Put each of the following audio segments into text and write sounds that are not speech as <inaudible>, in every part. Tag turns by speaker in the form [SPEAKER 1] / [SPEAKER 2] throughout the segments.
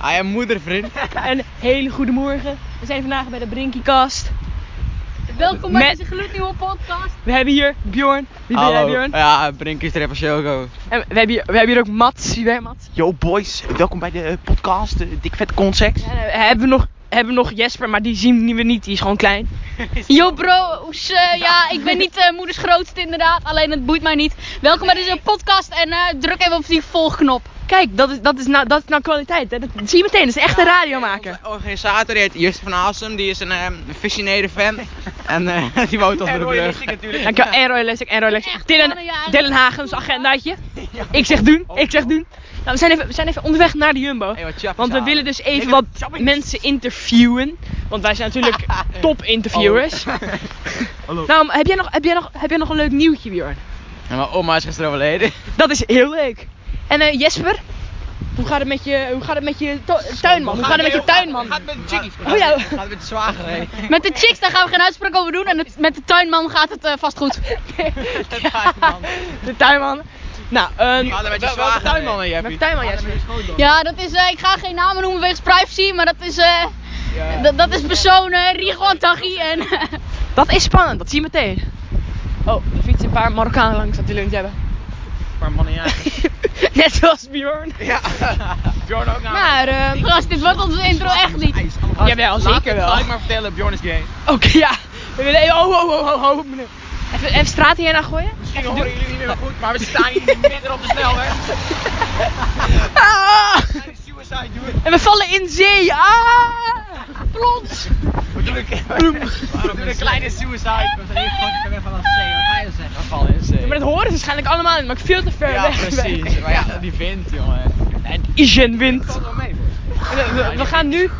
[SPEAKER 1] Hij een moedervriend.
[SPEAKER 2] Een hele goede morgen. We zijn vandaag bij de Brinkiekast.
[SPEAKER 3] Welkom bij
[SPEAKER 2] Met-
[SPEAKER 3] deze gloednieuwe podcast.
[SPEAKER 2] We hebben hier Bjorn. Wie ben jij
[SPEAKER 1] Hallo.
[SPEAKER 2] Bjorn?
[SPEAKER 1] Ja, Brink is er even Shogo.
[SPEAKER 2] En we hebben hier, we hebben hier ook Mats. Wie ben jij Mats?
[SPEAKER 4] Yo boys, welkom bij de eh, podcast, de Dik Vet Concept.
[SPEAKER 2] En, eh, hebben, we nog, hebben we nog Jesper, maar die zien we niet. Die is gewoon klein.
[SPEAKER 3] Yo Oh, bro, oes, eh, ja, ik ben niet eh, moeders grootste inderdaad, alleen het boeit mij niet. Welkom bij deze podcast en eh, druk even op die volgknop.
[SPEAKER 2] Kijk, dat is, dat is, nou, dat is nou kwaliteit. Hè? Dat zie je meteen. Dat is echt een radiomaker.
[SPEAKER 1] Onze Eh, organisator die heet Justin van Haasum, die is een ehm visionaire fan. en eh, <laughs> die woont onder de brug.
[SPEAKER 4] natuurlijk.
[SPEAKER 2] Dankjewel. En Roy Lessig, en Roy Lessig.
[SPEAKER 3] Echt
[SPEAKER 2] Dylan,
[SPEAKER 3] gewoon, ja. Oh.
[SPEAKER 2] Dylan Hagens agendaatje. Ik zeg doen, ik zeg doen. Nou, we zijn even, we zijn even onderweg naar de
[SPEAKER 1] <laughs>
[SPEAKER 2] Jumbo.
[SPEAKER 1] Hey, wat chappies
[SPEAKER 2] Want we
[SPEAKER 1] halen.
[SPEAKER 2] willen dus even wat mensen interviewen. Want wij zijn
[SPEAKER 1] <laughs>
[SPEAKER 2] natuurlijk top interviewers.
[SPEAKER 4] Hallo.
[SPEAKER 2] Nou, heb jij, nog, heb, jij nog, heb jij nog een leuk nieuwtje, Bjorn?
[SPEAKER 1] Ja, mijn oma is gisteren overleden.
[SPEAKER 2] Dat is heel leuk. En eh, Jesper? Hoe gaat het met je, hoe gaat het met je to- tuinman? Hoe gaat het met je tuinman?
[SPEAKER 1] Gaat met de chickies.
[SPEAKER 2] Oh ja.
[SPEAKER 1] Gaat met de zwager <laughs> heen.
[SPEAKER 3] Met de chicks, daar gaan we geen uitspraak over doen en het- met de tuinman gaat het eh, vast goed.
[SPEAKER 2] De tuinman. Nou, ehm
[SPEAKER 1] Gaat er met je
[SPEAKER 2] wel- welke
[SPEAKER 1] zwager
[SPEAKER 2] tuinman?
[SPEAKER 1] heen, Jeppie?
[SPEAKER 2] Welke tuinman, Jesper?
[SPEAKER 3] Ja, dat is, eh, ik ga geen namen noemen wegens privacy, maar dat is, eh, dat- dat is persoon eh, Rigo Antaghi en... eh,
[SPEAKER 2] Dat is spannend, dat zie je meteen. Oh, er fietsen een paar Marokkanen langs dat willen we niet hebben.
[SPEAKER 1] Maar mannen ja.
[SPEAKER 2] <laughs> Net zoals Bjorn.
[SPEAKER 1] Ja. Bjorn ook nou.
[SPEAKER 2] Maar, ehm
[SPEAKER 3] <laughs> Gast, dit wordt onze intro echt niet.
[SPEAKER 2] Jawel, zeker wel.
[SPEAKER 1] Laat ik maar vertellen, Bjorn is gay.
[SPEAKER 2] oké, ja. We willen even, oh, oh, oh, oh, oh, meneer. Even, even straat hierna gooien.
[SPEAKER 1] Misschien horen jullie niet meer goed, maar we staan hier midden op de snelweg.
[SPEAKER 2] <laughs> Ah!
[SPEAKER 1] We gaan suicide doen.
[SPEAKER 2] En we vallen in zee. Ah! Plons.
[SPEAKER 1] We doen een, we doen een kleine suicide. We zijn hier fucking weg van een C. Wat ga je zeggen? We vallen in C.
[SPEAKER 2] Maar dat horen ze waarschijnlijk allemaal niet, maar ik veel te ver
[SPEAKER 1] ja,
[SPEAKER 2] weg.
[SPEAKER 1] precies. Maar ja, die vindt, jongen.
[SPEAKER 2] En Isen wint.
[SPEAKER 1] wel mee,
[SPEAKER 2] We, we- we gaan nu,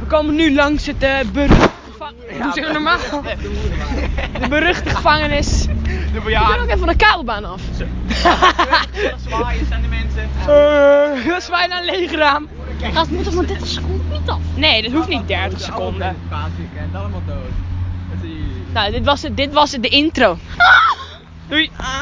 [SPEAKER 2] we komen nu langs het eh beruchte gevangenis. Doe zeggen we normaal. De beruchte gevangenis.
[SPEAKER 1] De
[SPEAKER 2] Ik ben ook
[SPEAKER 1] bejaarden.
[SPEAKER 2] even van de kabelbaan af. <laughs>
[SPEAKER 1] Zwaaien zijn de mensen.
[SPEAKER 2] Eh, dat is bijna een leeg raam.
[SPEAKER 3] Gast, moet toch maar 30 seconden niet af.
[SPEAKER 2] Nee, dat hoeft niet 30 seconden.
[SPEAKER 1] En allemaal dood.
[SPEAKER 3] <laughs>
[SPEAKER 2] Nou, dit was het, dit was het, de intro. Doei.